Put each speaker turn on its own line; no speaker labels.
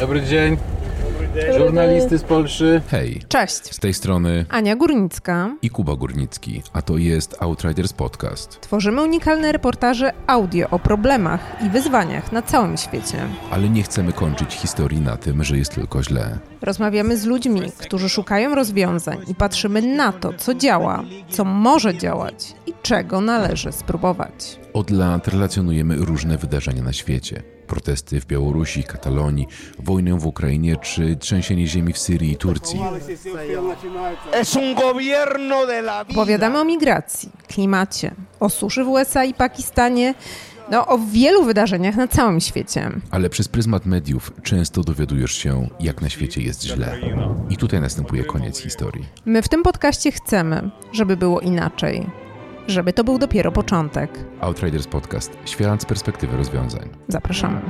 Dobry dzień. Żurnalisty z Polszy.
Hej,
Cześć,
z tej strony
Ania Górnicka.
i Kuba Górnicki, a to jest Outriders Podcast.
Tworzymy unikalne reportaże audio o problemach i wyzwaniach na całym świecie.
Ale nie chcemy kończyć historii na tym, że jest tylko źle.
Rozmawiamy z ludźmi, którzy szukają rozwiązań i patrzymy na to, co działa, co może działać i czego należy spróbować.
Od lat relacjonujemy różne wydarzenia na świecie. Protesty w Białorusi, Katalonii, wojnę w Ukrainie czy trzęsienie ziemi w Syrii i Turcji.
Es un gobierno de la
Opowiadamy o migracji, klimacie, o suszy w USA i Pakistanie, no o wielu wydarzeniach na całym świecie.
Ale przez pryzmat mediów często dowiadujesz się, jak na świecie jest źle. I tutaj następuje koniec historii.
My w tym podcaście chcemy, żeby było inaczej. Żeby to był dopiero początek.
Outriders Podcast. Świat z perspektywy rozwiązań.
Zapraszamy.